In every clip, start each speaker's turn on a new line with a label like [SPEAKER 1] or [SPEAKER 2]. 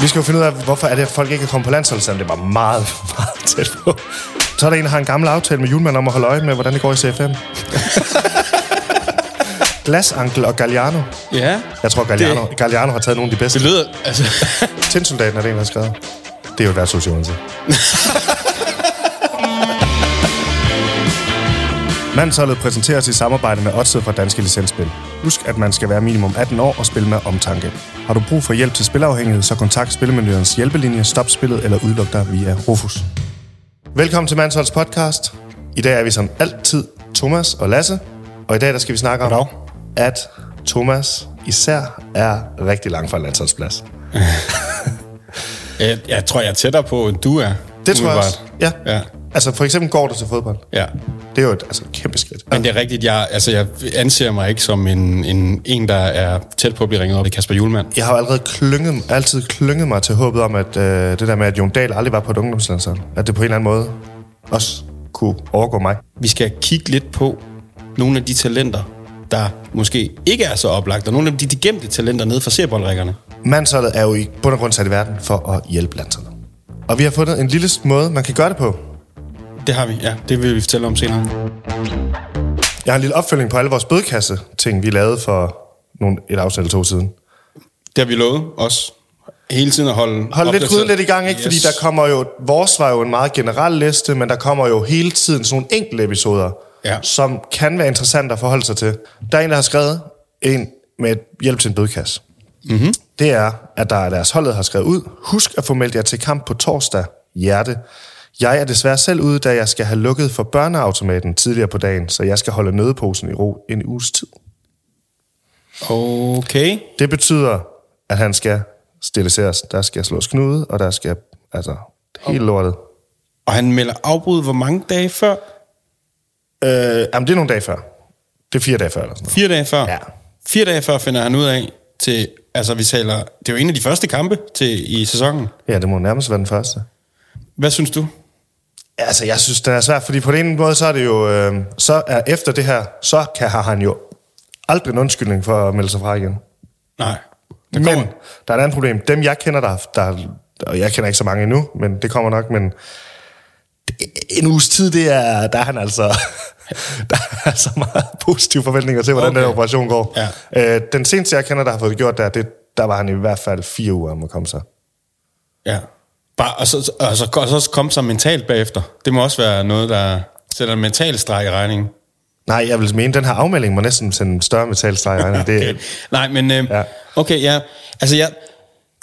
[SPEAKER 1] Vi skal jo finde ud af, hvorfor er det, at folk ikke kan komme på landsholdet, selvom det var meget, meget tæt på. Så er der en, der har en gammel aftale med julemanden om at holde øje med, hvordan det går i CFM. Glasankel og Galliano.
[SPEAKER 2] Ja.
[SPEAKER 1] Jeg tror, Galliano, det... Galliano har taget nogle af de bedste.
[SPEAKER 2] Det lyder... Altså,
[SPEAKER 1] Tinsoldaten er det en, der har skrevet. Det er jo et værtshus, Jonas. Mandsholdet præsenteres i samarbejde med Odset fra Danske Licensspil. Husk, at man skal være minimum 18 år og spille med omtanke. Har du brug for hjælp til spilafhængighed, så kontakt Spillemyndighedens hjælpelinje, stop spillet eller udluk dig via Rufus. Velkommen til Mandsholdets podcast. I dag er vi som altid Thomas og Lasse, og i dag der skal vi snakke om, Goddag. at Thomas især er rigtig langt fra en landsholdsplads.
[SPEAKER 2] jeg, jeg tror, jeg er tættere på, end du er.
[SPEAKER 1] Det tror jeg
[SPEAKER 2] umiddelbart.
[SPEAKER 1] også. Ja.
[SPEAKER 2] Ja.
[SPEAKER 1] Altså for eksempel går du til fodbold.
[SPEAKER 2] Ja.
[SPEAKER 1] Det er jo et, altså, et kæmpe skridt.
[SPEAKER 2] Men det er rigtigt, jeg, altså, jeg anser mig ikke som en, en, en, der er tæt på at blive ringet op af Kasper Julemand.
[SPEAKER 1] Jeg har jo allerede klynget, altid klynget mig til håbet om, at øh, det der med, at Jon Dahl aldrig var på et ungdomslandshold, at det på en eller anden måde også kunne overgå mig.
[SPEAKER 2] Vi skal kigge lidt på nogle af de talenter, der måske ikke er så oplagt, og nogle af de, de gemte talenter nede fra serboldrækkerne.
[SPEAKER 1] Mandsholdet er jo i bund og grund sat i verden for at hjælpe landsholdet. Og vi har fundet en lille måde, man kan gøre det på.
[SPEAKER 2] Det har vi, ja. Det vil vi fortælle om senere.
[SPEAKER 1] Jeg har en lille opfølging på alle vores bødkasse-ting, vi lavede for nogle, et afsnit eller to siden.
[SPEAKER 2] Det har vi lovet os hele tiden at holde
[SPEAKER 1] Hold lidt
[SPEAKER 2] opdateret.
[SPEAKER 1] gryden lidt i gang, ikke? Yes. Fordi der kommer jo... Vores var jo en meget generel liste, men der kommer jo hele tiden sådan nogle enkelte episoder,
[SPEAKER 2] Ja.
[SPEAKER 1] som kan være interessante at forholde sig til. Der er en, der har skrevet en med et hjælp til en bødkasse. Mm-hmm.
[SPEAKER 2] Mhm.
[SPEAKER 1] Det er, at der er deres holdet har skrevet ud. Husk at få meldt jer til kamp på torsdag. Hjerte. Jeg er desværre selv ude, da jeg skal have lukket for børneautomaten tidligere på dagen, så jeg skal holde nødeposen i ro en uges tid.
[SPEAKER 2] Okay.
[SPEAKER 1] Det betyder, at han skal stiliseres. Der skal slås knude, og der skal... Altså, helt lortet.
[SPEAKER 2] Og han melder afbrud hvor mange dage før?
[SPEAKER 1] Øh, jamen, det er nogle dage før. Det er fire dage før, eller sådan noget.
[SPEAKER 2] Fire dage før?
[SPEAKER 1] Ja.
[SPEAKER 2] Fire dage før finder han ud af til... Altså, vi taler... Det er jo en af de første kampe til, i sæsonen.
[SPEAKER 1] Ja, det må nærmest være den første.
[SPEAKER 2] Hvad synes du?
[SPEAKER 1] Altså, jeg synes, den er svært, fordi på den ene måde, så er det jo... Øh, så er efter det her, så kan har han jo aldrig en undskyldning for at melde sig fra igen.
[SPEAKER 2] Nej.
[SPEAKER 1] Der men der er et andet problem. Dem, jeg kender, der, der, og jeg kender ikke så mange endnu, men det kommer nok, men det- en uges tid, det er, der er han altså... Der er altså meget positive forventninger til, hvordan okay. den her
[SPEAKER 2] Okay.
[SPEAKER 1] operation går.
[SPEAKER 2] Ja.
[SPEAKER 1] Øh, den seneste, jeg kender, der har fået det gjort, der, det, der var han i hvert fald fire uger om at komme sig.
[SPEAKER 2] Ja. Bare, og, så, og, så, og så komme sig mentalt bagefter. Det må også være noget, der sætter en mental streg i regningen.
[SPEAKER 1] Nej, jeg vil mene, den her afmelding må næsten sende en større metalstreg i regningen. Det,
[SPEAKER 2] Okay. Nej, men... Øh,
[SPEAKER 1] Ja.
[SPEAKER 2] ja. Okay, ja. Altså, jeg,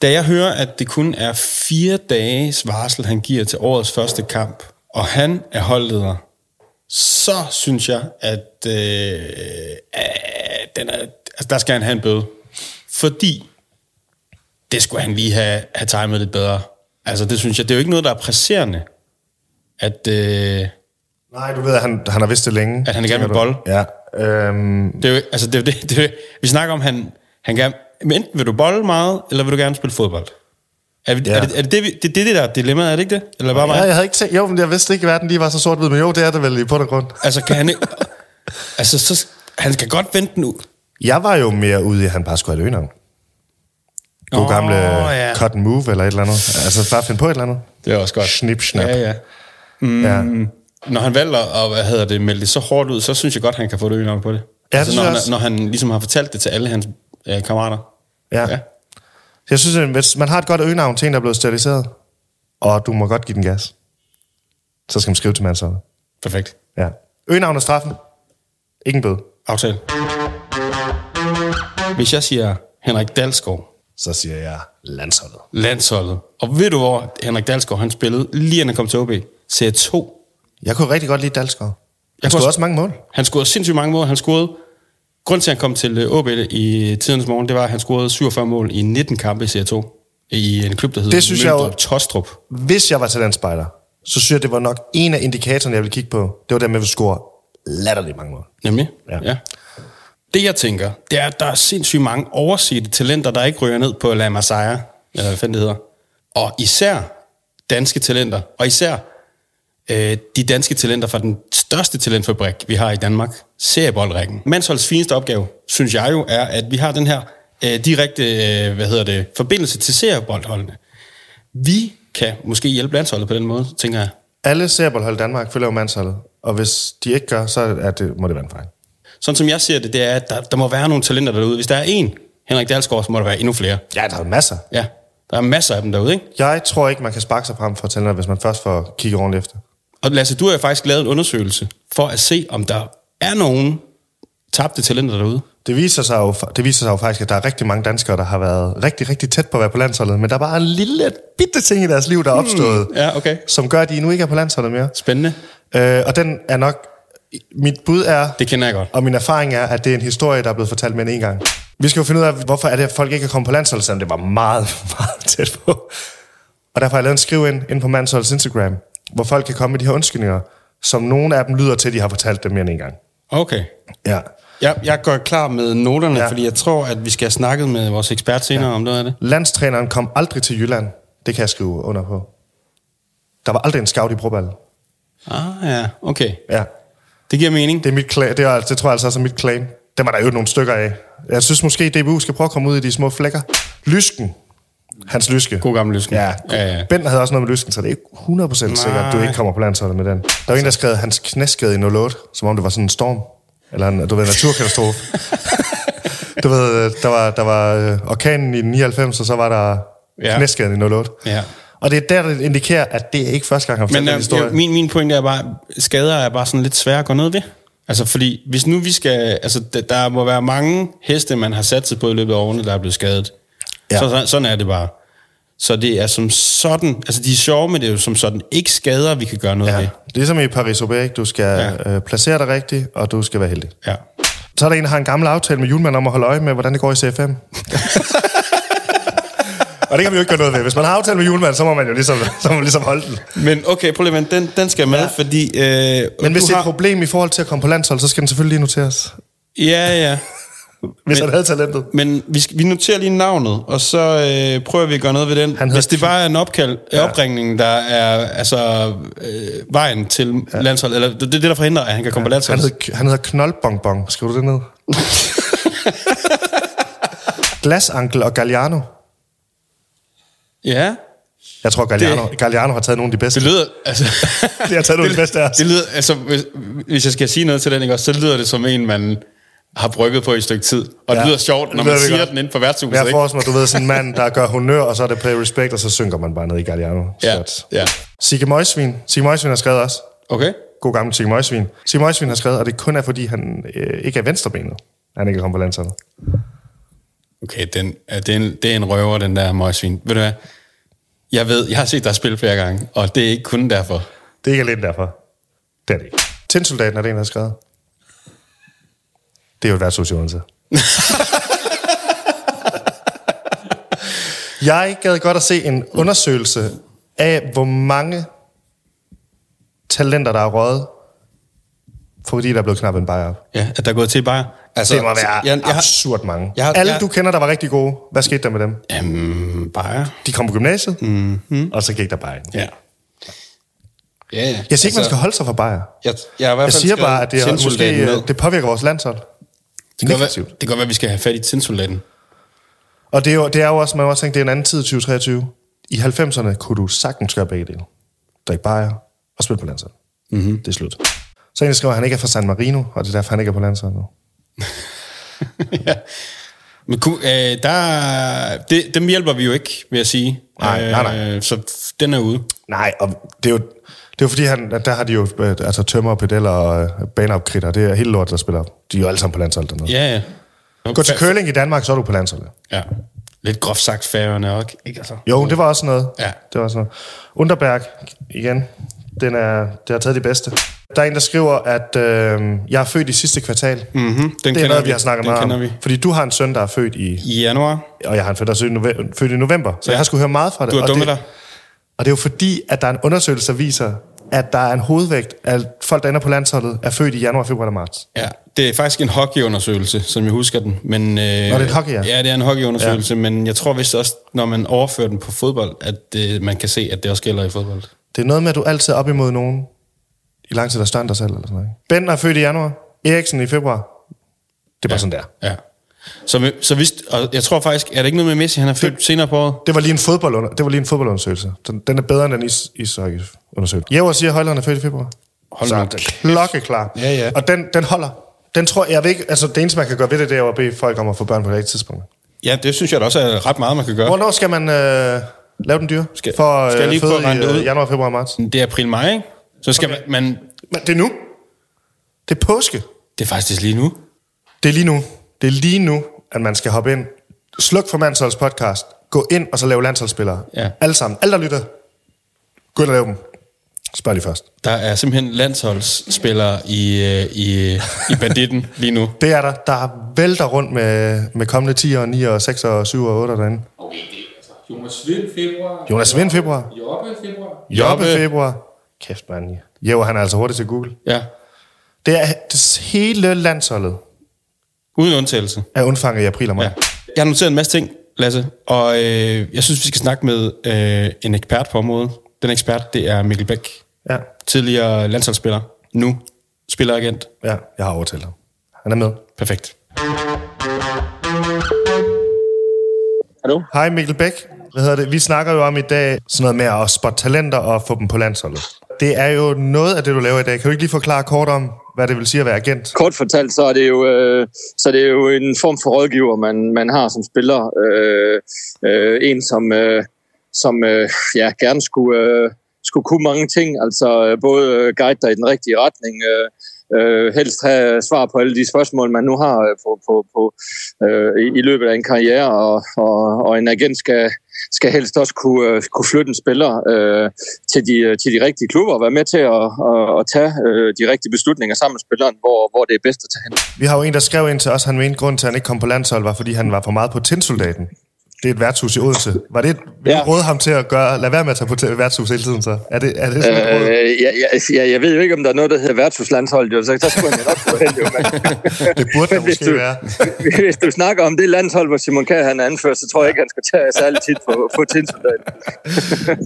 [SPEAKER 2] da jeg hører, at det kun er fire dages varsel, han giver til årets første kamp, og han er holdleder, så synes jeg, at, øh, at den er, altså, der skal han have en bøde. Fordi det skulle han lige have, have timet lidt bedre. Altså, det synes jeg, det er jo ikke noget, der er presserende, at, øh,
[SPEAKER 1] Nej, du ved, at han, han har vidst det længe.
[SPEAKER 2] at han er gerne vil
[SPEAKER 1] tænker
[SPEAKER 2] bold.
[SPEAKER 1] du? Ja. Øhm,
[SPEAKER 2] Det er jo, altså, det, er jo det, det, er jo- vi snakker om, han, han gerne, men enten vil du bolle meget, eller vil du gerne spille fodbold? Er, vi,
[SPEAKER 1] Ja.
[SPEAKER 2] ja. er, det, er det, det, vi- det, det, det der dilemma, er det ikke det? Eller bare mig?
[SPEAKER 1] ja, jeg havde ikke tænkt... Jo, men jeg vidste ikke, at verden lige var så sort-hvid, men jo, det er det vel i bund og grund.
[SPEAKER 2] Altså, kan han ikke... altså, så, han skal godt vente nu.
[SPEAKER 1] Jeg var jo mere ude i, at han bare skulle have et øgenavn. God oh, gamle ja. cut and move eller et eller andet. Altså bare finde på et eller andet.
[SPEAKER 2] Det er også godt.
[SPEAKER 1] Snip, snap.
[SPEAKER 2] Ja, ja.
[SPEAKER 1] Mm. Ja.
[SPEAKER 2] Når han valgte at hvad hedder det, melde det så hårdt ud, så synes jeg godt, han kan få det øgenavn på det.
[SPEAKER 1] Ja, det
[SPEAKER 2] altså,
[SPEAKER 1] synes
[SPEAKER 2] når,
[SPEAKER 1] jeg
[SPEAKER 2] han,
[SPEAKER 1] også.
[SPEAKER 2] når han ligesom har fortalt det til alle hans øh, kammerater.
[SPEAKER 1] Ja. ja.
[SPEAKER 2] Ja.
[SPEAKER 1] Jeg synes, at hvis man har et godt øgenavn til en, der er blevet steriliseret, og du må godt give den gas, så skal man skrive til mandsholdet.
[SPEAKER 2] Perfekt.
[SPEAKER 1] Ja. Øgenavn og straffen. Ingen bøde.
[SPEAKER 2] Aftale. Hvis jeg siger Henrik Dalsgaard,
[SPEAKER 1] Så siger jeg landsholdet.
[SPEAKER 2] landsholdet. Og ved du, hvor Henrik Dalsgaard han spillede, lige inden han kom til OB? Serie 2.
[SPEAKER 1] Jeg kunne rigtig godt lide Dalsgaard. Jeg
[SPEAKER 2] kunne
[SPEAKER 1] kunne
[SPEAKER 2] også-
[SPEAKER 1] også mange mål.
[SPEAKER 2] Han scorede sindssygt mange mål. Han scorede... Grunden til, at han kom til øh, OB i tidens morgen, det var, at han scorede 47 mål i 19 kampe i Serie 2. I en klub, der hedder
[SPEAKER 1] Det synes jeg jo-
[SPEAKER 2] Møldrup Tostrup.
[SPEAKER 1] Hvis jeg var talentspejder, så synes jeg, det var nok en af indikatorerne, jeg ville kigge på. Det var dem, jeg ville score latterligt mange mål.
[SPEAKER 2] Nemlig.
[SPEAKER 1] Ja.
[SPEAKER 2] Ja. ja. Det, jeg tænker, det er, at der er sindssygt mange oversete talenter, der ikke ryger ned på La Masia, eller hvad fanden det hedder. Og især danske talenter, og især øh, de danske talenter fra den største talentfabrik, vi har i Danmark, serieboldrækken. Mandsholds fineste opgave, synes jeg jo, er, at vi har den her øh, direkte øh, hvad hedder det, forbindelse til serieboldholdene. vi kan måske hjælpe landsholdet på den måde, tænker jeg.
[SPEAKER 1] Alle serboldhold i Danmark følger jo mandsholdet, og hvis de ikke gør, så er det, må det være en fejl.
[SPEAKER 2] Sådan som jeg ser det, det er, at der, der må være nogle talenter derude. Hvis der er en Henrik Dalsgaard, så må der være endnu flere.
[SPEAKER 1] Ja, der er masser.
[SPEAKER 2] Ja, der er masser af dem derude, ikke?
[SPEAKER 1] Jeg tror ikke, man kan sparke sig frem for talenter, hvis man først får kigget ordentligt efter.
[SPEAKER 2] Og Lasse, du har jo faktisk lavet en undersøgelse for at se, om der er nogen tabte talenter derude.
[SPEAKER 1] Det viser, sig jo, det viser sig jo faktisk, at der er rigtig mange danskere, der har været rigtig, rigtig tæt på at være på landsholdet, men der er bare en lille bitte ting i deres liv, der er opstået, mm,
[SPEAKER 2] ja, okay.
[SPEAKER 1] som gør, at de nu ikke er på landsholdet mere.
[SPEAKER 2] Spændende.
[SPEAKER 1] Øh, og den er nok... Mit bud er,
[SPEAKER 2] Det kender jeg godt.
[SPEAKER 1] og min erfaring er, at det er en historie, der er blevet fortalt mere end en gang. Vi skal jo finde ud af, hvorfor er det, at folk ikke er kommet på landsholdet, selvom det var meget, meget tæt på. Og derfor har jeg lavet en skriv ind, ind på Mansholdets Instagram, hvor folk kan komme med de her undskyldninger, som nogle af dem lyder til, at de har fortalt dem mere end en gang.
[SPEAKER 2] Okay.
[SPEAKER 1] Ja.
[SPEAKER 2] Jeg, jeg går klar med noterne,
[SPEAKER 1] Ja.
[SPEAKER 2] ja. fordi jeg tror, at vi skal have snakket med vores ekspert senere ja. om noget af det.
[SPEAKER 1] Landstræneren kom aldrig til Jylland. Det kan jeg skrive under på. Der var aldrig en scout i Broball.
[SPEAKER 2] Ah, ja. Okay.
[SPEAKER 1] Ja.
[SPEAKER 2] Det giver mening.
[SPEAKER 1] Det, er mit cla- det, er, det tror jeg altså også er mit claim. Dem er der jo nogle stykker af. Jeg synes måske, DBU skal prøve at komme ud i de små flækker. Lysken. Hans Lyske.
[SPEAKER 2] God gammel løsning.
[SPEAKER 1] Ja,
[SPEAKER 2] ja, ja.
[SPEAKER 1] Bent havde også noget med lysken, så det er ikke 100% sikkert, at du
[SPEAKER 2] Nej.
[SPEAKER 1] ikke kommer på landsholdet med den. Der var en, der skrev hans knæskade i 08, som om det var sådan en storm. Eller en, du ved, en naturkatastrofe. du ved, der var, der var øh, orkanen i 99, og så var der ja.
[SPEAKER 2] Ja.
[SPEAKER 1] knæskaden i 08.
[SPEAKER 2] Ja.
[SPEAKER 1] Og det er der, det indikerer, at det er ikke første gang, han har fortalt
[SPEAKER 2] Men
[SPEAKER 1] den
[SPEAKER 2] øh,
[SPEAKER 1] historie.
[SPEAKER 2] jeg, min, min pointe er bare, skader er bare sådan lidt svære at gå ned ved. Altså fordi, hvis nu vi skal, altså d- der må være mange heste, man har sat sig på i løbet af årene, der er blevet skadet.
[SPEAKER 1] Ja.
[SPEAKER 2] Ja. Så, så, sådan er det bare. Så det er som sådan, altså de er sjove, men det er jo som sådan ikke skader, vi kan gøre noget ja. ved.
[SPEAKER 1] ja. Ligesom i Paris-Roubaix, ikke? du skal ja. øh, placere dig rigtigt, og du skal være heldig.
[SPEAKER 2] Ja.
[SPEAKER 1] Så er der en, der har en gammel aftale med julemanden om at holde øje med, hvordan det går i CFM. og det kan vi jo ikke gøre noget ved. Hvis man har aftale med julemanden, så må man jo ligesom, så må man ligesom holde den.
[SPEAKER 2] Men okay, prøv lige at vente, den, den skal med, ja. fordi... Øh,
[SPEAKER 1] Men hvis
[SPEAKER 2] du
[SPEAKER 1] det er et
[SPEAKER 2] har,
[SPEAKER 1] problem i forhold til at komme på landshold, så skal den selvfølgelig lige noteres.
[SPEAKER 2] Ja, ja.
[SPEAKER 1] Hvis han havde talentet.
[SPEAKER 2] Men vi, skal, vi noterer lige navnet, og så øh, prøver vi at gøre noget ved den.
[SPEAKER 1] Han
[SPEAKER 2] Hvis
[SPEAKER 1] hedder
[SPEAKER 2] det bare er en opkald, ja. opringning, der er altså, øh, vejen til ja. landshold, eller det, det er det, der forhindrer, at han kan komme ja. på
[SPEAKER 1] Han
[SPEAKER 2] landshold.
[SPEAKER 1] hed, han hedder Knoldbonbon. Skriv du det ned? Glasankel og Galliano.
[SPEAKER 2] Ja,
[SPEAKER 1] Jeg tror, Galliano, det... Galliano har taget nogle af de bedste.
[SPEAKER 2] det lyder... Altså,
[SPEAKER 1] Det har taget nogle af de bedste af os.
[SPEAKER 2] det lyder, altså, hvis, hvis jeg skal sige noget til den, ikke, også, så lyder det som en, man har brygget på i et stykke tid. Og ja.
[SPEAKER 1] Ja.
[SPEAKER 2] det lyder sjovt,
[SPEAKER 1] Det
[SPEAKER 2] når
[SPEAKER 1] lyder
[SPEAKER 2] man
[SPEAKER 1] det
[SPEAKER 2] siger
[SPEAKER 1] godt.
[SPEAKER 2] den inde på værtshuset.
[SPEAKER 1] Jeg
[SPEAKER 2] ikke?
[SPEAKER 1] forestiller mig, du ved, sådan en mand, der gør honør, og så er det play respect, og så synker man bare ned i Galliano.
[SPEAKER 2] Ja, ja.
[SPEAKER 1] Sigge Møjsvin. Sigge Møjsvin har skrevet også.
[SPEAKER 2] Okay.
[SPEAKER 1] God gammel Sigge Møjsvin. Sigge Møjsvin har skrevet, og det kun er, fordi han øh, ikke er venstrebenet. Han ikke er kommet på landsholdet.
[SPEAKER 2] Okay, den, er- det, er en, det er en røver, den der møgsvin. Ved du hvad? Jeg ved, jeg har set dig spille flere gange, og det er ikke kun derfor.
[SPEAKER 1] Det er ikke alene derfor. Det er det ikke. Tændsoldaten er det en, der har skrevet. Det er jo et værtshus i Odense. Jeg gad godt at se en undersøgelse af, hvor mange talenter, der er røget, fordi der er blevet knappet en bajer op.
[SPEAKER 2] Ja, at der er gået til bare... Altså,
[SPEAKER 1] Det må være
[SPEAKER 2] Jeg, jeg, har,
[SPEAKER 1] absurd mange.
[SPEAKER 2] jeg har-
[SPEAKER 1] Alle,
[SPEAKER 2] jeg-
[SPEAKER 1] du kender, der var rigtig gode. Hvad skete der med dem?
[SPEAKER 2] jamen, bare...
[SPEAKER 1] De kom på gymnasiet, mm-hmm. og så gik der bare ind.
[SPEAKER 2] Ja. Ja, ja.
[SPEAKER 1] Jeg siger ikke, man skal holde sig fra bajer.
[SPEAKER 2] Jeg, jeg, har i hvert fald
[SPEAKER 1] Jeg siger
[SPEAKER 2] skrevet
[SPEAKER 1] bare, at det, er,
[SPEAKER 2] sindsoldaten
[SPEAKER 1] måske,
[SPEAKER 2] ned.
[SPEAKER 1] øh, det påvirker vores landshold.
[SPEAKER 2] det, kan godt være, det kan godt være, at vi skal have fat i sindsoldaten.
[SPEAKER 1] Og det er, jo, det er jo også, man må også tænke, det er en anden tid, 2023. I 90'erne kunne du sagtens gøre begge dele. Drikke bajer og spille på landsholdet. Mm-hmm. Det er slut. Så en der skriver, at han ikke er fra San Marino, og det er derfor, han ikke er på landsholdet nu.
[SPEAKER 2] ja. Men kunne, øh, der, det, dem hjælper vi jo ikke, vil jeg sige.
[SPEAKER 1] Nej, nej, nej.
[SPEAKER 2] Øh, så den er ude.
[SPEAKER 1] Nej, og det er jo, det er jo fordi, han, at der har de jo øh, altså, tømmer, pedeller og øh, baneopkritter. Det er helt lort, der spiller op. De er jo alle sammen på landsholdet dernede.
[SPEAKER 2] Ja, ja.
[SPEAKER 1] Gå til curling i Danmark, så er du på landsholdet.
[SPEAKER 2] Ja. Lidt groft sagt færgerne også, ikke altså?
[SPEAKER 1] Jo, det var også noget.
[SPEAKER 2] Ja.
[SPEAKER 1] Det var også noget. Underberg, igen, den er, det har taget de bedste. Der er en, der skriver, at øh, jeg er født i sidste kvartal. Mm-hmm.
[SPEAKER 2] Mm, den
[SPEAKER 1] Det er
[SPEAKER 2] kender
[SPEAKER 1] noget, vi har snakket
[SPEAKER 2] den
[SPEAKER 1] meget
[SPEAKER 2] kender
[SPEAKER 1] om.
[SPEAKER 2] vi.
[SPEAKER 1] Fordi du har en søn, der er født i...
[SPEAKER 2] I januar.
[SPEAKER 1] Og jeg har en født, der er født i november, født i november så ja.
[SPEAKER 2] Ja.
[SPEAKER 1] jeg har skulle høre meget fra det.
[SPEAKER 2] Du har
[SPEAKER 1] og
[SPEAKER 2] dummet
[SPEAKER 1] det,
[SPEAKER 2] dig.
[SPEAKER 1] Og det er jo fordi, at der er en undersøgelse, der viser, at der er en hovedvægt af folk, der ender på landsholdet, er født i januar, februar eller marts.
[SPEAKER 2] Ja, det er faktisk en hockeyundersøgelse, som jeg husker den. Men, øh, Nå, det
[SPEAKER 1] er en hockey, ja.
[SPEAKER 2] ja. det er en hockeyundersøgelse, ja. men jeg tror vist også, når man overfører den på fodbold, at øh, man kan se, at det også gælder i fodbold.
[SPEAKER 1] Det er noget med, at du altid er op imod nogen i lang tid, der er større end dig selv. Eller sådan noget. ikke? Bender er født i januar. Eriksen i februar. Det er bare sådan der.
[SPEAKER 2] Ja. Så, vi- så hvis, og jeg tror faktisk, er det ikke noget med Messi, han er født senere på året?
[SPEAKER 1] Det var lige en, fodboldunder, det var lige en fodboldundersøgelse. Den, den er bedre end den is, ishockeyundersøgelse. Jæver siger, at Højland er født i februar.
[SPEAKER 2] Hold
[SPEAKER 1] så
[SPEAKER 2] nu
[SPEAKER 1] er den klokkeklar.
[SPEAKER 2] Ja, ja.
[SPEAKER 1] Og den, den holder. Den tror jeg, jeg ved ikke, altså det eneste, man kan gøre ved det, det er jo at bede folk om at få børn på det rigtige tidspunkt.
[SPEAKER 2] Ja, det synes jeg da også er ret meget, man kan gøre.
[SPEAKER 1] Hvornår skal man øh, lave den dyre?
[SPEAKER 2] Skal-
[SPEAKER 1] for
[SPEAKER 2] skal jeg lige prøve at regne det
[SPEAKER 1] føde i
[SPEAKER 2] ud?
[SPEAKER 1] øh, januar, februar og marts.
[SPEAKER 2] Det er april-maj, ikke? Så skal okay. man, man...
[SPEAKER 1] Men det er nu. Det er påske.
[SPEAKER 2] Det er faktisk lige nu.
[SPEAKER 1] Det er lige nu. Det er lige nu, at man skal hoppe ind. Sluk for Mansholds podcast. Gå ind og så lave landsholdsspillere.
[SPEAKER 2] Ja.
[SPEAKER 1] Alle sammen. Alle, der lytter. Gå ind og lave dem. Spørg lige først.
[SPEAKER 2] Der er simpelthen landsholdsspillere i, øh, i, i banditten lige nu.
[SPEAKER 1] Det er der. Der vælter rundt med, med kommende 10 og 9 og 6 og 7 og 8 derinde.
[SPEAKER 3] Okay, det er altså Jonas Vind februar.
[SPEAKER 1] Jonas Vind februar.
[SPEAKER 3] Joppe februar.
[SPEAKER 1] Jobbe
[SPEAKER 2] Jobbe.
[SPEAKER 1] februar. Kæft, mand. Jo, han er altså hurtig til Google.
[SPEAKER 2] Ja,
[SPEAKER 1] Det er det hele landsholdet
[SPEAKER 2] uden undtagelse.
[SPEAKER 1] er undfanget i april og maj.
[SPEAKER 2] Ja. Jeg har noteret en masse ting, Lasse, og øh, jeg synes, vi skal snakke med øh, en ekspert på området. Den ekspert, det er Mikkel Bæk,
[SPEAKER 1] Ja.
[SPEAKER 2] tidligere landsholdsspiller, nu spilleragent.
[SPEAKER 1] ja. jeg har overtalt ham. Han er med.
[SPEAKER 2] Perfekt.
[SPEAKER 4] Hallo?
[SPEAKER 1] Hej Mikkel Bæk. Hvad hedder det? Vi snakker jo om i dag sådan noget med at spotte talenter og få dem på landsholdet. Det er jo noget af det, du laver i dag. Kan du ikke lige forklare kort om, hvad det vil sige at være agent?
[SPEAKER 4] Kort fortalt, så er det jo, øh, så er det jo en form for rådgiver, man, man har som spiller. Øh, øh, en, som, øh, som øh, ja, gerne skulle, øh, skulle kunne mange ting, altså øh, både øh, guide dig i den rigtige retning, øh, øh, helst have svar på alle de spørgsmål, man nu har øh, på, på, på, øh, i, i løbet af en karriere, og, og, og en agent skal, skal helst også kunne, øh, kunne flytte en spiller øh, til, de, øh, til de rigtige klubber, og være med til at, at, at tage øh, de rigtige beslutninger sammen med spilleren, hvor, hvor det er bedst at tage hen.
[SPEAKER 1] Vi har jo en, der skrev ind til os, han mente, grund til, at han ikke kom på landshold, var, fordi han var for meget på Tinsoldaten. Det er et værtshus i Odense. Var det et, vil
[SPEAKER 4] Ja.
[SPEAKER 1] du råde ham til at gøre, lad være med at tage på t- værtshus hele tiden så? Er det, er det sådan et råd?
[SPEAKER 4] Øh, jeg, jeg, jeg, jeg ved jo ikke, om der er noget, der hedder værtshuslandshold, jo, så der skulle han jo nok gå hen, jo. Men,
[SPEAKER 1] Det burde der
[SPEAKER 4] hvis
[SPEAKER 1] måske
[SPEAKER 4] du-
[SPEAKER 1] være.
[SPEAKER 4] hvis du snakker om det landshold, hvor Simon Kjær han er anført, så tror jeg ikke, han skal tage særlig tit på, på Tinsoldaten.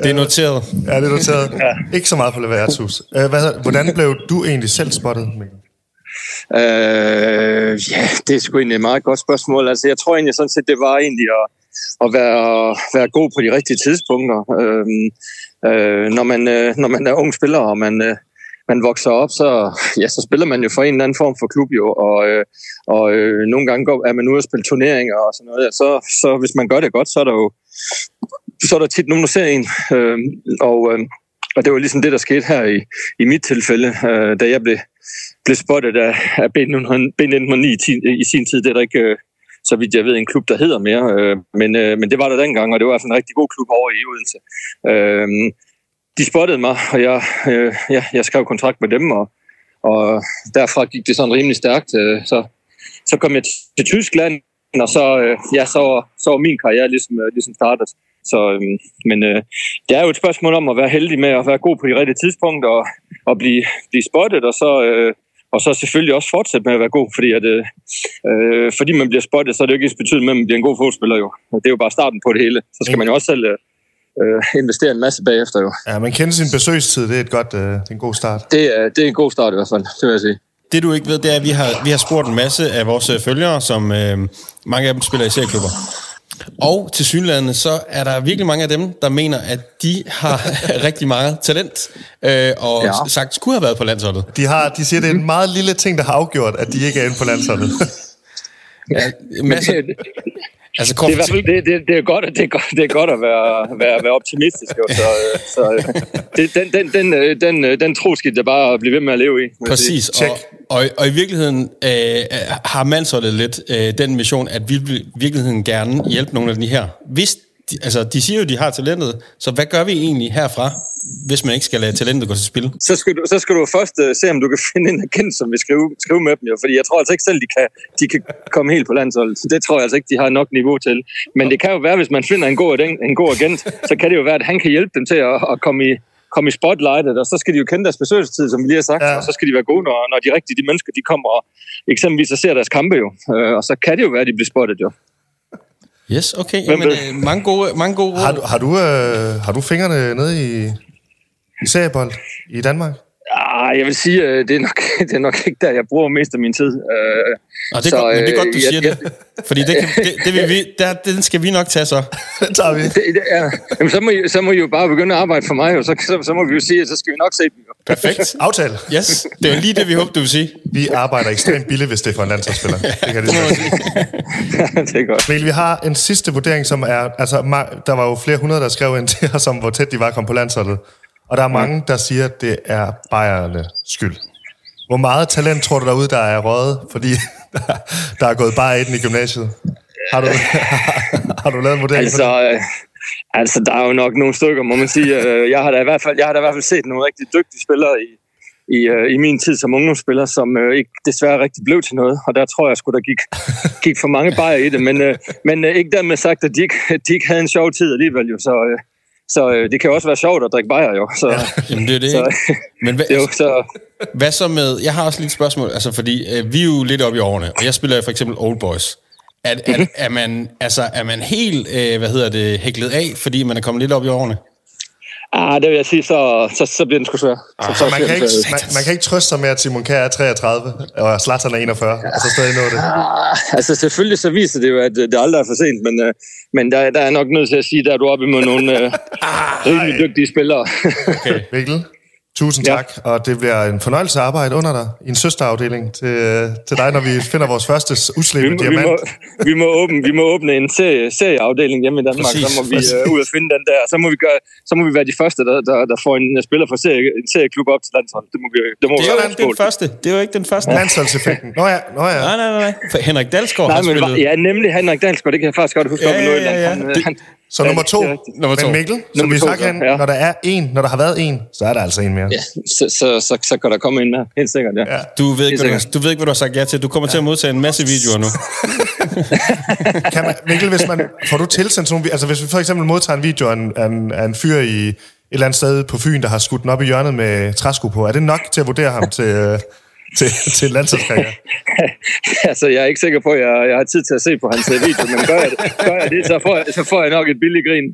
[SPEAKER 2] Det er noteret.
[SPEAKER 1] Ja, det er noteret. Ikke så meget på det værtshus. Øh, hvad, hedder- hvordan blev du egentlig selv spottet, Mikkel?
[SPEAKER 4] Øh, ja, det er sgu egentlig et meget godt spørgsmål. Altså, jeg tror egentlig sådan set, det var egentlig at, at være, være god på de rigtige tidspunkter. Øh, øh, når, man, øh, når man er ung spiller, og man, øh, man vokser op, så, ja, så spiller man jo for en eller anden form for klub, jo, og, øh, og øh, nogle gange går, er man ude og spille turneringer og sådan noget. Så, så hvis man gør det godt, så er der jo så er der tit nogen, der ser en. Øh, og, øh, og det var ligesom det, der skete her i, i mit tilfælde, øh, da jeg blev blev spottet af, af B1909 i, ti- i sin tid. Det er der ikke, øh, så vidt jeg ved, en klub, der hedder mere. øh, Men, øh, men det var der dengang, og det var i hvert fald en rigtig god klub over i Odense. Øh, De spottede mig, og jeg, øh, ja, jeg skrev kontrakt med dem, og, og derfra gik det sådan rimelig stærkt. øh, Så, så kom jeg t- til Tyskland, og så, øh, ja, så, var- så var min karriere ligesom, øh, ligesom startet. Så, øh, men øh, det er jo et spørgsmål om at være heldig med at være god på de rigtige tidspunkter og, og blive, blive spottet, og så, øh, og så selvfølgelig også fortsætte med at være god, fordi, at, øh, øh, fordi man bliver spottet, så er det jo ikke ens betydende med, at man bliver en god fodspiller jo. Det er jo bare starten på det hele. Så skal man jo også selv øh, øh, investere en masse bagefter jo.
[SPEAKER 1] Ja, man kender sin besøgstid, det er, et godt, øh, det er en god start.
[SPEAKER 4] Det er, det er en god start i hvert fald, det vil jeg sige.
[SPEAKER 2] Det du ikke ved, det er, at vi har, vi har spurgt en masse af vores øh, følgere, som øh, mange af dem spiller i serieklubber. Og til synlande, så er der virkelig mange af dem, der mener, at de har rigtig meget talent, øh, og ja.
[SPEAKER 4] Ja.
[SPEAKER 2] sagt skulle have været på landsholdet.
[SPEAKER 1] De, har, de siger, det er en meget lille ting, der har afgjort, at de ikke er inde på landsholdet.
[SPEAKER 2] Ja,
[SPEAKER 4] Men
[SPEAKER 2] masser,
[SPEAKER 4] det,
[SPEAKER 2] altså,
[SPEAKER 4] det, er i hvert fald, det, det, det, er godt, det, er godt, det er godt at være, være, være optimistisk jo. Så, øh, så øh, det, den, den, den, øh, den, øh, den tro skal der bare blive ved med at leve i. vil jeg sige.
[SPEAKER 2] Præcis,
[SPEAKER 1] Tjek.
[SPEAKER 2] og, og, og i virkeligheden øh, har mandsholdet lidt øh, den mission, at vi vil i virkeligheden gerne hjælpe nogle af de her. Hvis, de, altså, de siger jo, de har talentet, så hvad gør vi egentlig herfra, hvis man ikke skal lade talentet gå til spil?
[SPEAKER 4] så skal, du, så skal du først uh, se, om du kan finde en agent, som vil skrive, skrive med dem. Jo. Fordi jeg tror altså ikke selv, de kan, de kan komme helt på landsholdet. Det tror jeg altså ikke, de har nok niveau til. Men det kan jo være, hvis man finder en god, agen- en god agent, så kan det jo være, at han kan hjælpe dem til at, at komme i komme i spotlightet, og så skal de jo kende deres besøgelsestid, som vi lige har sagt,
[SPEAKER 1] Ja.
[SPEAKER 4] ja. og så skal de være gode, når, når de rigtige de mennesker, de kommer og eksempelvis og ser deres kampe jo, Øh, og så kan det jo være, at de bliver spottet jo.
[SPEAKER 2] Yes, okay.
[SPEAKER 4] Hvem
[SPEAKER 2] Jamen,
[SPEAKER 4] ved?
[SPEAKER 2] øh, mange gode, mange gode
[SPEAKER 1] Har
[SPEAKER 2] råd.
[SPEAKER 1] du, har du, øh, har du fingrene nede i, i seriebold i Danmark?
[SPEAKER 4] Ah, jeg vil sige, øh, det er, nok, det er nok ikke der, jeg bruger mest af min tid. Øh,
[SPEAKER 2] Og det er, så, godt, men det er godt, du siger jeg, det. Fordi det, kan, det, det vil vi, der, den skal vi nok tage så.
[SPEAKER 1] Den tager vi.
[SPEAKER 4] Det, det, ja. Jamen, så, må I, så må I jo bare begynde at arbejde for mig, og så, så, så må vi jo sige, at så skal vi nok se dem. Jo.
[SPEAKER 2] Perfekt.
[SPEAKER 1] Aftale.
[SPEAKER 2] Yes, det er jo lige det, vi håber, du vil sige.
[SPEAKER 1] Vi arbejder ekstremt billigt, hvis det er for en landsholdsspiller. Det kan jeg lige
[SPEAKER 2] Det
[SPEAKER 1] så
[SPEAKER 2] må
[SPEAKER 1] godt
[SPEAKER 2] man
[SPEAKER 1] sige.
[SPEAKER 2] sige.
[SPEAKER 4] det er godt.
[SPEAKER 1] Mikkel, vi har en sidste vurdering, som er... Altså, ma- der var jo flere hundrede, der skrev ind til os om, hvor tæt de var at komme på landsholdet. Og der er mange, der siger, at det er Bayernes skyld. Hvor meget talent tror du derude, der er røget, fordi der er gået bare et i gymnasiet? Har du, har du lavet en vurdering? på det?
[SPEAKER 4] Altså, øh, altså, der er jo nok nogle stykker, må man sige. Øh, Jeg har da i hvert fald, jeg har da i hvert fald set nogle rigtig dygtige spillere i, i, øh, i min tid som ungdomsspiller, som øh, ikke desværre rigtig blev til noget. Og der tror jeg sgu, der gik, gik for mange bajer i det. Men, øh, men øh, ikke dermed sagt, at de ikke, de ikke havde en sjov tid alligevel. Jo. Så, øh, så øh, det kan jo også være sjovt at drikke bajer, jo. Så,
[SPEAKER 2] Jamen, det er det,
[SPEAKER 4] Så-
[SPEAKER 2] ikke? Men hvad,
[SPEAKER 4] jo, så
[SPEAKER 2] Hvad så med, jeg har også lige et spørgsmål, altså fordi øh, vi er jo lidt oppe i årene, og jeg spiller jo for eksempel Old Boys. Er,
[SPEAKER 4] Mhm.
[SPEAKER 2] er, er, man, altså, er man helt, øh, hvad hedder det, hæklet af, fordi man er kommet lidt op i årene?
[SPEAKER 4] ah, det vil jeg sige, så, så, så bliver den sgu svær. Så, så
[SPEAKER 1] Ah, Man kan,
[SPEAKER 4] bliver den
[SPEAKER 1] ikke,
[SPEAKER 2] altså-
[SPEAKER 4] svær.
[SPEAKER 1] man, man kan ikke trøste sig med, at Simon Kjær er 33, og Zlatan er 41, og så stadig nå det.
[SPEAKER 4] Ah, altså selvfølgelig så viser det jo, at øh, det aldrig er for sent, men, øh, men der, der er nok nødt til at sige, der er du oppe imod nogle øh,
[SPEAKER 2] Ah,
[SPEAKER 4] rimelig dygtige spillere.
[SPEAKER 2] Okay.
[SPEAKER 1] Mikkel, tusind
[SPEAKER 4] Ja.
[SPEAKER 1] tak, og det bliver en fornøjelse at arbejde under dig i en søsterafdeling til, til dig, når vi finder vores første
[SPEAKER 4] vi,
[SPEAKER 1] uslebende
[SPEAKER 4] må, vi,
[SPEAKER 1] diamant.
[SPEAKER 4] må, vi, må åbne, vi må åbne en serie, serieafdeling hjemme i Danmark,
[SPEAKER 2] Præcis,
[SPEAKER 4] så må vi øh, ud og finde den der, så må vi, gøre, så må vi være de første, der, der, der får en øh, spiller fra serie, en serieklub op til landsholdet. Det må vi det må
[SPEAKER 2] Det er
[SPEAKER 4] være
[SPEAKER 2] jo
[SPEAKER 4] vores
[SPEAKER 2] ikke den
[SPEAKER 4] mål.
[SPEAKER 2] første. Det er jo ikke den første. Nej,
[SPEAKER 1] Landsholdseffekten. Nå ja, nå ja.
[SPEAKER 2] nej, nej. nej. For Henrik Dalsgaard
[SPEAKER 4] Nej,
[SPEAKER 2] har
[SPEAKER 4] men,
[SPEAKER 2] spillet.
[SPEAKER 4] var- ja, nemlig Henrik Dalsgaard, det kan jeg faktisk godt huske
[SPEAKER 2] Ja,
[SPEAKER 4] op i
[SPEAKER 2] ja,
[SPEAKER 4] Nordjylland.
[SPEAKER 2] ja, ja.
[SPEAKER 4] Han, øh,
[SPEAKER 2] Det-
[SPEAKER 4] han-
[SPEAKER 1] Så nummer to.
[SPEAKER 4] Ja, det er rigtigt.
[SPEAKER 2] Nummer to.
[SPEAKER 1] Men Mikkel, som
[SPEAKER 4] Nummer
[SPEAKER 1] vi
[SPEAKER 4] to,
[SPEAKER 1] snakker hen,
[SPEAKER 4] ja.
[SPEAKER 1] når der er en, når der har været en, så er der altså en mere.
[SPEAKER 4] Ja, så, så, så, så kan der komme en mere, helt sikkert, ja.
[SPEAKER 1] Ja.
[SPEAKER 2] Du ved, ikke,
[SPEAKER 4] Det er
[SPEAKER 2] hvad du, du ved ikke, hvad du har sagt ja til. Du kommer til at modtage en masse videoer nu.
[SPEAKER 1] Kan man, Mikkel, hvis man, får du tilsendt sådan nogle, vi- altså hvis vi for eksempel modtager en video af en, af en, af en fyr i et eller andet sted på Fyn, der har skudt den op i hjørnet med træsko på, er det nok til at vurdere ham til, øh, til, til landsholdskarriere?
[SPEAKER 4] Altså, jeg er ikke sikker på, at jeg, jeg har tid til at se på hans øh, video, men gør jeg det, gør jeg det så, får jeg, så får jeg nok et billigt grin.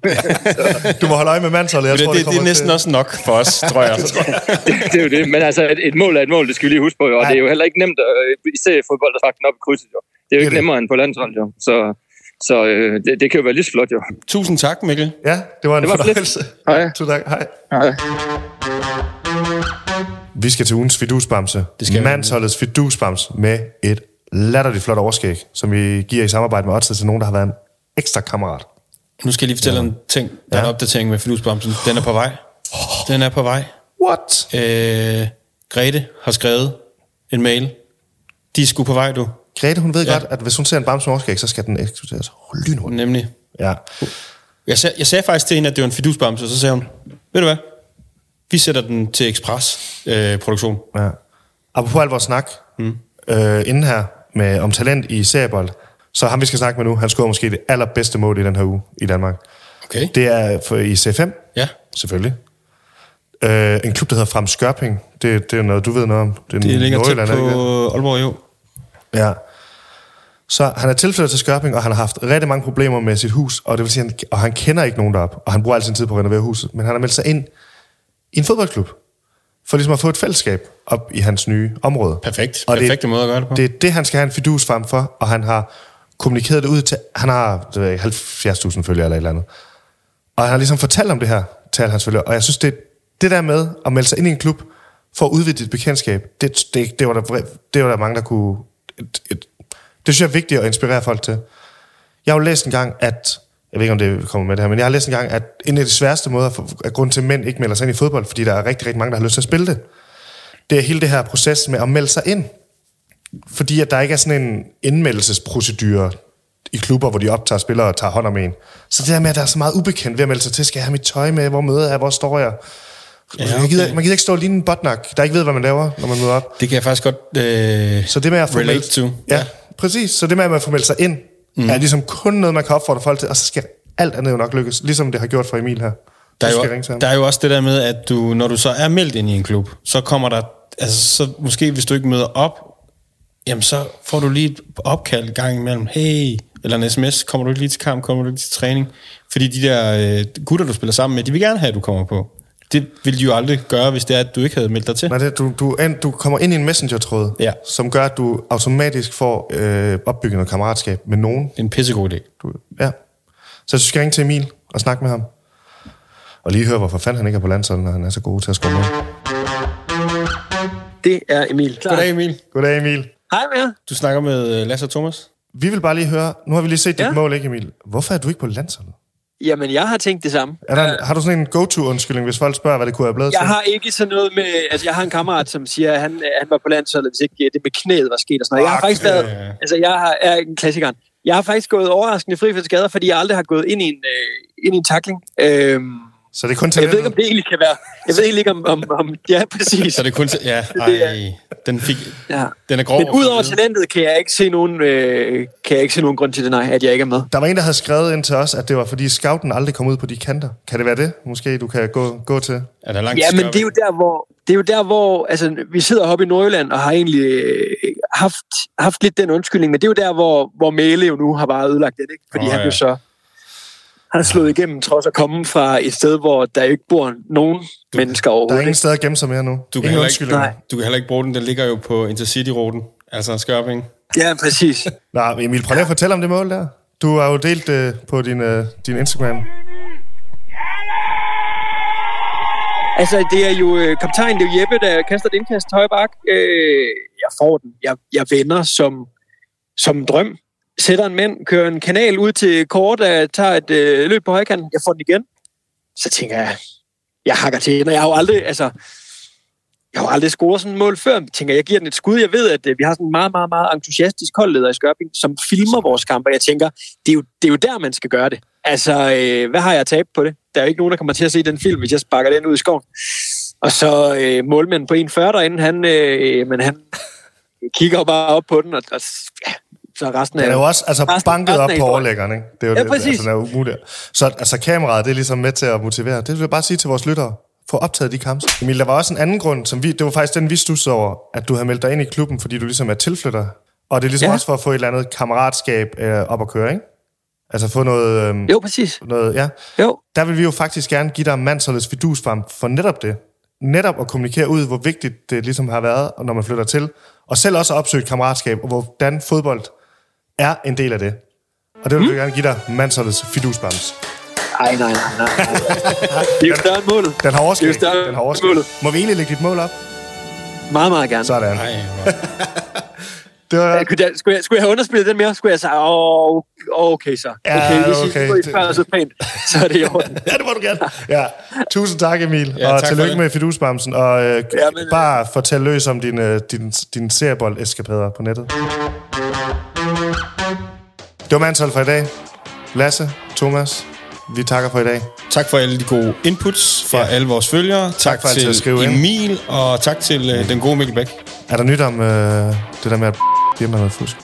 [SPEAKER 1] Du må holde øje med mandsholdet, jeg
[SPEAKER 2] Det,
[SPEAKER 1] tror,
[SPEAKER 2] det, det er
[SPEAKER 1] kommer
[SPEAKER 2] næsten
[SPEAKER 1] til.
[SPEAKER 2] også nok for os, tror jeg.
[SPEAKER 4] Det, det er jo det. Men altså, et, et mål er et mål, det skal vi lige huske på, jo. og det er jo heller ikke nemt øh, i seriefodbold at trække den op i krydset. Jo. Det er jo
[SPEAKER 1] Det er
[SPEAKER 4] ikke
[SPEAKER 1] det.
[SPEAKER 4] nemmere end på landshold, jo. så, så øh, det, det kan jo være lige så flot. Jo.
[SPEAKER 2] Tusind tak, Mikkel.
[SPEAKER 1] Ja, det var en
[SPEAKER 4] Det
[SPEAKER 1] det
[SPEAKER 4] var
[SPEAKER 1] var
[SPEAKER 4] fedt.
[SPEAKER 1] fornøjelse.
[SPEAKER 4] Hej.
[SPEAKER 1] Tusind tak. Hej.
[SPEAKER 4] Hej.
[SPEAKER 1] Vi skal til ugens fidusbamse. Det skal
[SPEAKER 2] vi.
[SPEAKER 1] Mandsholdets fidusbamse med et latterligt flot overskæg, som vi giver i samarbejde med Otse til nogen, der har været en ekstra kammerat.
[SPEAKER 2] Nu skal jeg lige fortælle ja. en ting. Der er en opdatering med Fidusbomsen. Den er på vej. Den er på vej.
[SPEAKER 1] What?
[SPEAKER 2] Øh, Grete har skrevet en mail. De skulle på vej, du.
[SPEAKER 1] Grete, hun ved ja. godt, at hvis hun ser en bamse med overskæg, så skal den ekskluderes lynhurtigt.
[SPEAKER 2] Nemlig.
[SPEAKER 1] Ja.
[SPEAKER 2] Jeg sagde, jeg sagde faktisk til hende, at det var en fidusbamse, og så sagde hun, ved du hvad, vi sætter den til Express-produktion. Øh, produktion."
[SPEAKER 1] ja. Apropos al vores snak, mm. øh, inden her med, om talent i seriebold, så ham vi skal snakke med nu, han scorede måske det allerbedste mål i den her uge i Danmark.
[SPEAKER 2] okay. Det.
[SPEAKER 1] Det er for, i C5,
[SPEAKER 2] Ja.
[SPEAKER 1] Selvfølgelig. Øh, en klub, der hedder Frem Skørping. Det, det er noget, du ved noget om. Det, er
[SPEAKER 2] Det ligger tæt
[SPEAKER 1] Nordjylland,
[SPEAKER 2] på
[SPEAKER 1] er det ikke
[SPEAKER 2] Aalborg, jo.
[SPEAKER 1] det? Ja. Så han er tilflyttet til Skørping, og han har haft rigtig mange problemer med sit hus, og det vil sige, han, og han kender ikke nogen deroppe, og han bruger al sin tid på at renovere huset, men han har meldt sig ind i en fodboldklub, for ligesom at få et fællesskab op i hans nye område.
[SPEAKER 2] Perfekt.
[SPEAKER 1] Og det-
[SPEAKER 2] Perfekte måde at gøre det på.
[SPEAKER 1] Det er det, han skal have en fidus frem for, og han har kommunikeret det ud til... Han har det ved jeg ikke, 70.000 følgere eller et eller andet. Og han har ligesom fortalt om det her til alle hans følgere. Og jeg synes, det, det der med at melde sig ind i en klub for at udvide dit bekendtskab, det, det, det, var, der, vri- det var der mange, der kunne... Et, et, det synes jeg er vigtigt at inspirere folk til. Jeg har jo læst en gang, at... Jeg ved ikke, om det kommer med det her, men jeg har læst en gang, at en af de sværeste måder for, at grunden til, at mænd ikke melder sig ind i fodbold, fordi der er rigtig, rigtig mange, der har lyst til at spille det, det er hele det her proces med at melde sig ind fordi at der ikke er sådan en indmeldelsesprocedure i klubber, hvor de optager spillere og tager hånd om en. Så det der med, at der er så meget ubekendt ved at melde sig til, skal jeg have mit tøj med, hvor møder jeg, hvor står jeg? Ja, okay.
[SPEAKER 2] okay.
[SPEAKER 1] man, gider, man gider ikke stå lige en botnak, der ikke ved, hvad man laver, når man møder op.
[SPEAKER 2] Det kan jeg faktisk godt... Øh,
[SPEAKER 1] Så det med at få
[SPEAKER 2] Relate
[SPEAKER 1] meldt,
[SPEAKER 2] to.
[SPEAKER 1] Ja,
[SPEAKER 2] Ja.
[SPEAKER 1] præcis. Så det med, at man får meldt sig ind, mm. er ligesom kun noget, man kan opfordre folk til, og så skal alt andet jo nok lykkes, ligesom det har gjort for Emil her.
[SPEAKER 2] der, er
[SPEAKER 1] Du skal
[SPEAKER 2] jo,
[SPEAKER 1] ringe til ham.
[SPEAKER 2] der er jo også det der med, at du, når du så er meldt ind i en klub, så kommer der... Altså, så måske hvis du ikke møder op, jamen så får du lige et opkald en gang imellem. Hey, eller en sms, kommer du ikke lige til kamp, kommer du ikke til træning? Fordi de der øh, gutter, du spiller sammen med, de vil gerne have, at du kommer på. det ville de jo aldrig gøre, hvis det er, at du ikke havde meldt dig til.
[SPEAKER 1] Nej, det, er- du, du, er ind, du kommer ind i en messenger-tråd,
[SPEAKER 2] Ja.
[SPEAKER 1] som gør, at du automatisk får øh, opbygget noget kammeratskab med nogen.
[SPEAKER 2] Det er en pissegod idé.
[SPEAKER 1] Du, ja. Så du skal ringe til Emil og snakke med ham. Og lige høre, hvorfor fanden han ikke er på landsholdet, når han er så god til at score mål.
[SPEAKER 5] Det er Emil. Klar.
[SPEAKER 2] Goddag Emil.
[SPEAKER 1] Goddag, Emil.
[SPEAKER 5] Hej med jer.
[SPEAKER 2] Du snakker med øh, Lasse og Thomas.
[SPEAKER 1] Vi vil bare lige høre, nu har vi lige set dit
[SPEAKER 5] Ja.
[SPEAKER 1] mål, ikke Emil? Hvorfor er du ikke på landsholdet?
[SPEAKER 5] Jamen, jeg har tænkt det samme.
[SPEAKER 1] Er der, har du sådan en go-to-undskyldning, hvis folk spørger, hvad det kunne have blevet
[SPEAKER 5] Øh. Jeg
[SPEAKER 1] til?
[SPEAKER 5] har ikke sådan noget med... Altså, jeg har en kammerat, som siger, at han, øh, han var på landsholdet, hvis ikke øh, det med knæet var sket og sådan noget. Jeg har
[SPEAKER 1] Ah,
[SPEAKER 5] faktisk
[SPEAKER 1] knæet,
[SPEAKER 5] været... Altså, jeg har, er en klassikeren. Jeg har faktisk gået overraskende fri for skader, fordi jeg aldrig har gået ind i en, øh, ind i en tackling. Øhm,
[SPEAKER 1] Så det er kun
[SPEAKER 5] jeg ved ikke, om
[SPEAKER 1] talentet.
[SPEAKER 5] det egentlig kan være... Jeg ved egentlig ikke, om... om, om ja, præcis.
[SPEAKER 2] Så det er kun... til- Ja,
[SPEAKER 5] Det
[SPEAKER 2] ej, den, fik,
[SPEAKER 5] Ja.
[SPEAKER 2] den er grov.
[SPEAKER 5] Men
[SPEAKER 2] at få
[SPEAKER 5] udover
[SPEAKER 2] at vide.
[SPEAKER 5] talentet kan jeg ikke se nogen, øh, kan jeg ikke se nogen grund til det, nej, at jeg ikke er med.
[SPEAKER 1] Der var en, der havde skrevet ind til os, at det var, fordi scouten aldrig kom ud på de kanter. Kan det være det, måske, du kan gå, gå til?
[SPEAKER 2] Er der langt
[SPEAKER 5] Ja, men
[SPEAKER 2] skørpe?
[SPEAKER 5] det er jo der, hvor, det er jo der, hvor altså, vi sidder oppe i Nordjylland og har egentlig øh, haft, haft lidt den undskyldning, men det er jo der, hvor, hvor Mæle jo nu har bare ødelagt det, ikke? fordi
[SPEAKER 2] Åh,
[SPEAKER 5] oh, han
[SPEAKER 2] ja.
[SPEAKER 5] jo så han er slået igennem, trods at komme fra et sted, hvor der jo ikke bor nogen du, mennesker
[SPEAKER 1] Der er
[SPEAKER 5] overhovedet.
[SPEAKER 1] ingen
[SPEAKER 5] Ikke?
[SPEAKER 1] steder at gemme sig mere nu.
[SPEAKER 2] Du kan,
[SPEAKER 1] ingen
[SPEAKER 2] heller ikke,
[SPEAKER 1] undskyldninger.
[SPEAKER 5] Nej.
[SPEAKER 2] du kan heller ikke bruge den. Den ligger jo på Intercity-ruten. Altså Skørping.
[SPEAKER 5] Ja, præcis.
[SPEAKER 1] Nej, men Emil, prøv lige at fortælle om det mål der. Du har jo delt det på din, øh, din Instagram.
[SPEAKER 5] Altså, det er jo øh, kaptajn, det er jo Jeppe, der kaster et indkast til højre bak. Øh, jeg får den. Jeg, jeg vender som, som en drøm. Sætter en mand, kører en kanal ud til kort, der tager et øh, løb på højkanten. Jeg får den igen. Så tænker jeg, jeg hakker til den, og jeg har jo aldrig, altså, jeg har jo aldrig scoret sådan et mål før. Jeg tænker, jeg giver den et skud. Jeg ved, at øh, vi har sådan en meget, meget, meget entusiastisk holdleder i Skørping, som filmer vores kampe. Jeg tænker, det er, jo, det er jo der, man skal gøre det. Altså, øh, hvad har jeg tabt på det? Der er jo ikke nogen, der kommer til at se den film, hvis jeg sparker den ud i skoven. Og så øh, målmanden på 1,40 derinde, han, øh, men han kigger jo bare op på den, og, og ja, så er resten af...
[SPEAKER 1] Den er jo også altså,
[SPEAKER 5] Resten-
[SPEAKER 1] banket op
[SPEAKER 5] resten er
[SPEAKER 1] på
[SPEAKER 5] historie.
[SPEAKER 1] overlæggeren, ikke? Det er jo
[SPEAKER 5] Ja,
[SPEAKER 1] det,
[SPEAKER 5] præcis.
[SPEAKER 1] Altså, den er umulig. Så altså, kameraet, det er ligesom med til at motivere. Det vil jeg bare sige til vores lyttere. Få optaget de kampe. Emil, der var også en anden grund, som vi, det var faktisk den, vi stussede over, at du havde meldt dig ind i klubben, fordi du ligesom er tilflytter. Og det er ligesom ja.
[SPEAKER 5] Ja.
[SPEAKER 1] også for at få et eller andet kammeratskab øh, op at køre, ikke? Altså få noget... Øh,
[SPEAKER 5] Jo, præcis.
[SPEAKER 1] noget ja.
[SPEAKER 5] Jo,
[SPEAKER 1] Der vil vi jo faktisk gerne give dig mandsholdets vidus for, for netop det. Netop at kommunikere ud, hvor vigtigt det ligesom har været, når man flytter til. Og selv også at opsøge et kammeratskab, og hvordan fodbold er en del af det. Og det vil
[SPEAKER 5] Mm.
[SPEAKER 1] vi gerne give dig mandsholdets fidusbams.
[SPEAKER 5] Ej, nej, nej, nej. det er jo større end målet.
[SPEAKER 1] Den har overskæg.
[SPEAKER 5] Det er jo stærkt.
[SPEAKER 1] Den har overskæg.
[SPEAKER 5] Målet.
[SPEAKER 1] Må vi egentlig lægge dit mål op?
[SPEAKER 5] Meget, meget gerne.
[SPEAKER 1] Sådan.
[SPEAKER 2] Ej, hvor-
[SPEAKER 1] Det var,
[SPEAKER 5] Jeg kunne, jeg, skulle, jeg, skulle jeg have underspillet den mere? Skulle jeg sige, åh, okay så.
[SPEAKER 1] Ja,
[SPEAKER 5] Okay, hvis I
[SPEAKER 1] okay.
[SPEAKER 5] okay. I spørger så pænt, så er det i orden.
[SPEAKER 1] ja, det må du gerne. Ja. Tusind tak, Emil.
[SPEAKER 2] Ja,
[SPEAKER 1] Ja, og
[SPEAKER 2] tak for
[SPEAKER 1] tillykke
[SPEAKER 2] det.
[SPEAKER 1] med fidusbamsen. Og øh, ja,
[SPEAKER 5] men,
[SPEAKER 1] men,
[SPEAKER 5] øh,
[SPEAKER 1] bare fortæl løs om dine, din, din seriebold-eskapader på nettet. Det var Manshold for i dag. Lasse, Thomas, vi takker for i dag.
[SPEAKER 2] tak for alle de gode inputs fra ja. alle vores følgere. Tak, tak
[SPEAKER 1] for altid
[SPEAKER 2] til
[SPEAKER 1] at skrive ind.
[SPEAKER 2] Emil, og tak til øh, den gode Mikkel Bæk.
[SPEAKER 1] Er der nyt om øh, det der med at hjemme noget fusk?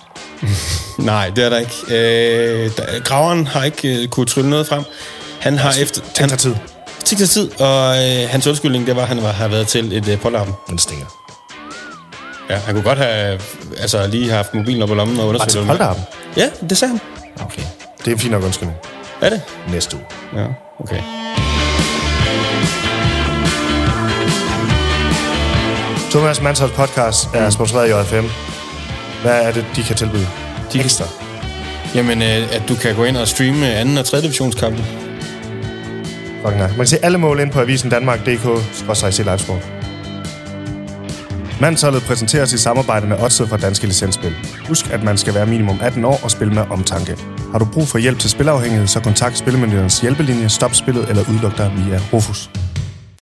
[SPEAKER 2] Nej, det er der ikke. Øh, der, graveren har ikke øh, kunne trylle noget frem. Han har efter...
[SPEAKER 1] Han
[SPEAKER 2] Han,
[SPEAKER 1] tager tid.
[SPEAKER 2] Tænk dig tid, og øh, hans undskyldning, det var, at han var, har været til et øh, pålarm.
[SPEAKER 1] Den stinger.
[SPEAKER 2] Ja, han kunne godt have øh, altså, lige haft mobilen op i lommen og undersøgt.
[SPEAKER 1] Martin,
[SPEAKER 2] det.
[SPEAKER 1] hold da op.
[SPEAKER 2] Ja, det sagde han.
[SPEAKER 1] Okay. Det er en fin nok undskyldning.
[SPEAKER 2] Er det?
[SPEAKER 1] Næste uge.
[SPEAKER 2] Ja, okay.
[SPEAKER 1] Thomas Mansholds podcast
[SPEAKER 2] Mm.
[SPEAKER 1] er sponsoreret af JFM. Hvad er det, de kan tilbyde?
[SPEAKER 2] De-
[SPEAKER 1] Ekstra.
[SPEAKER 2] Jamen, øh, at du kan gå ind og streame øh, anden og tredje divisionskampe.
[SPEAKER 1] Fucking nej. Man kan se alle mål ind på avisen Danmark.dk og CIC Livesport. Mandsholdet præsenteres i samarbejde med Odset fra Danske Licensspil. Husk, at man skal være minimum 18 år og spille med omtanke. Har du brug for hjælp til spilafhængighed, så kontakt Spillemyndighedens hjælpelinje, stop spillet eller udluk dig via Rufus.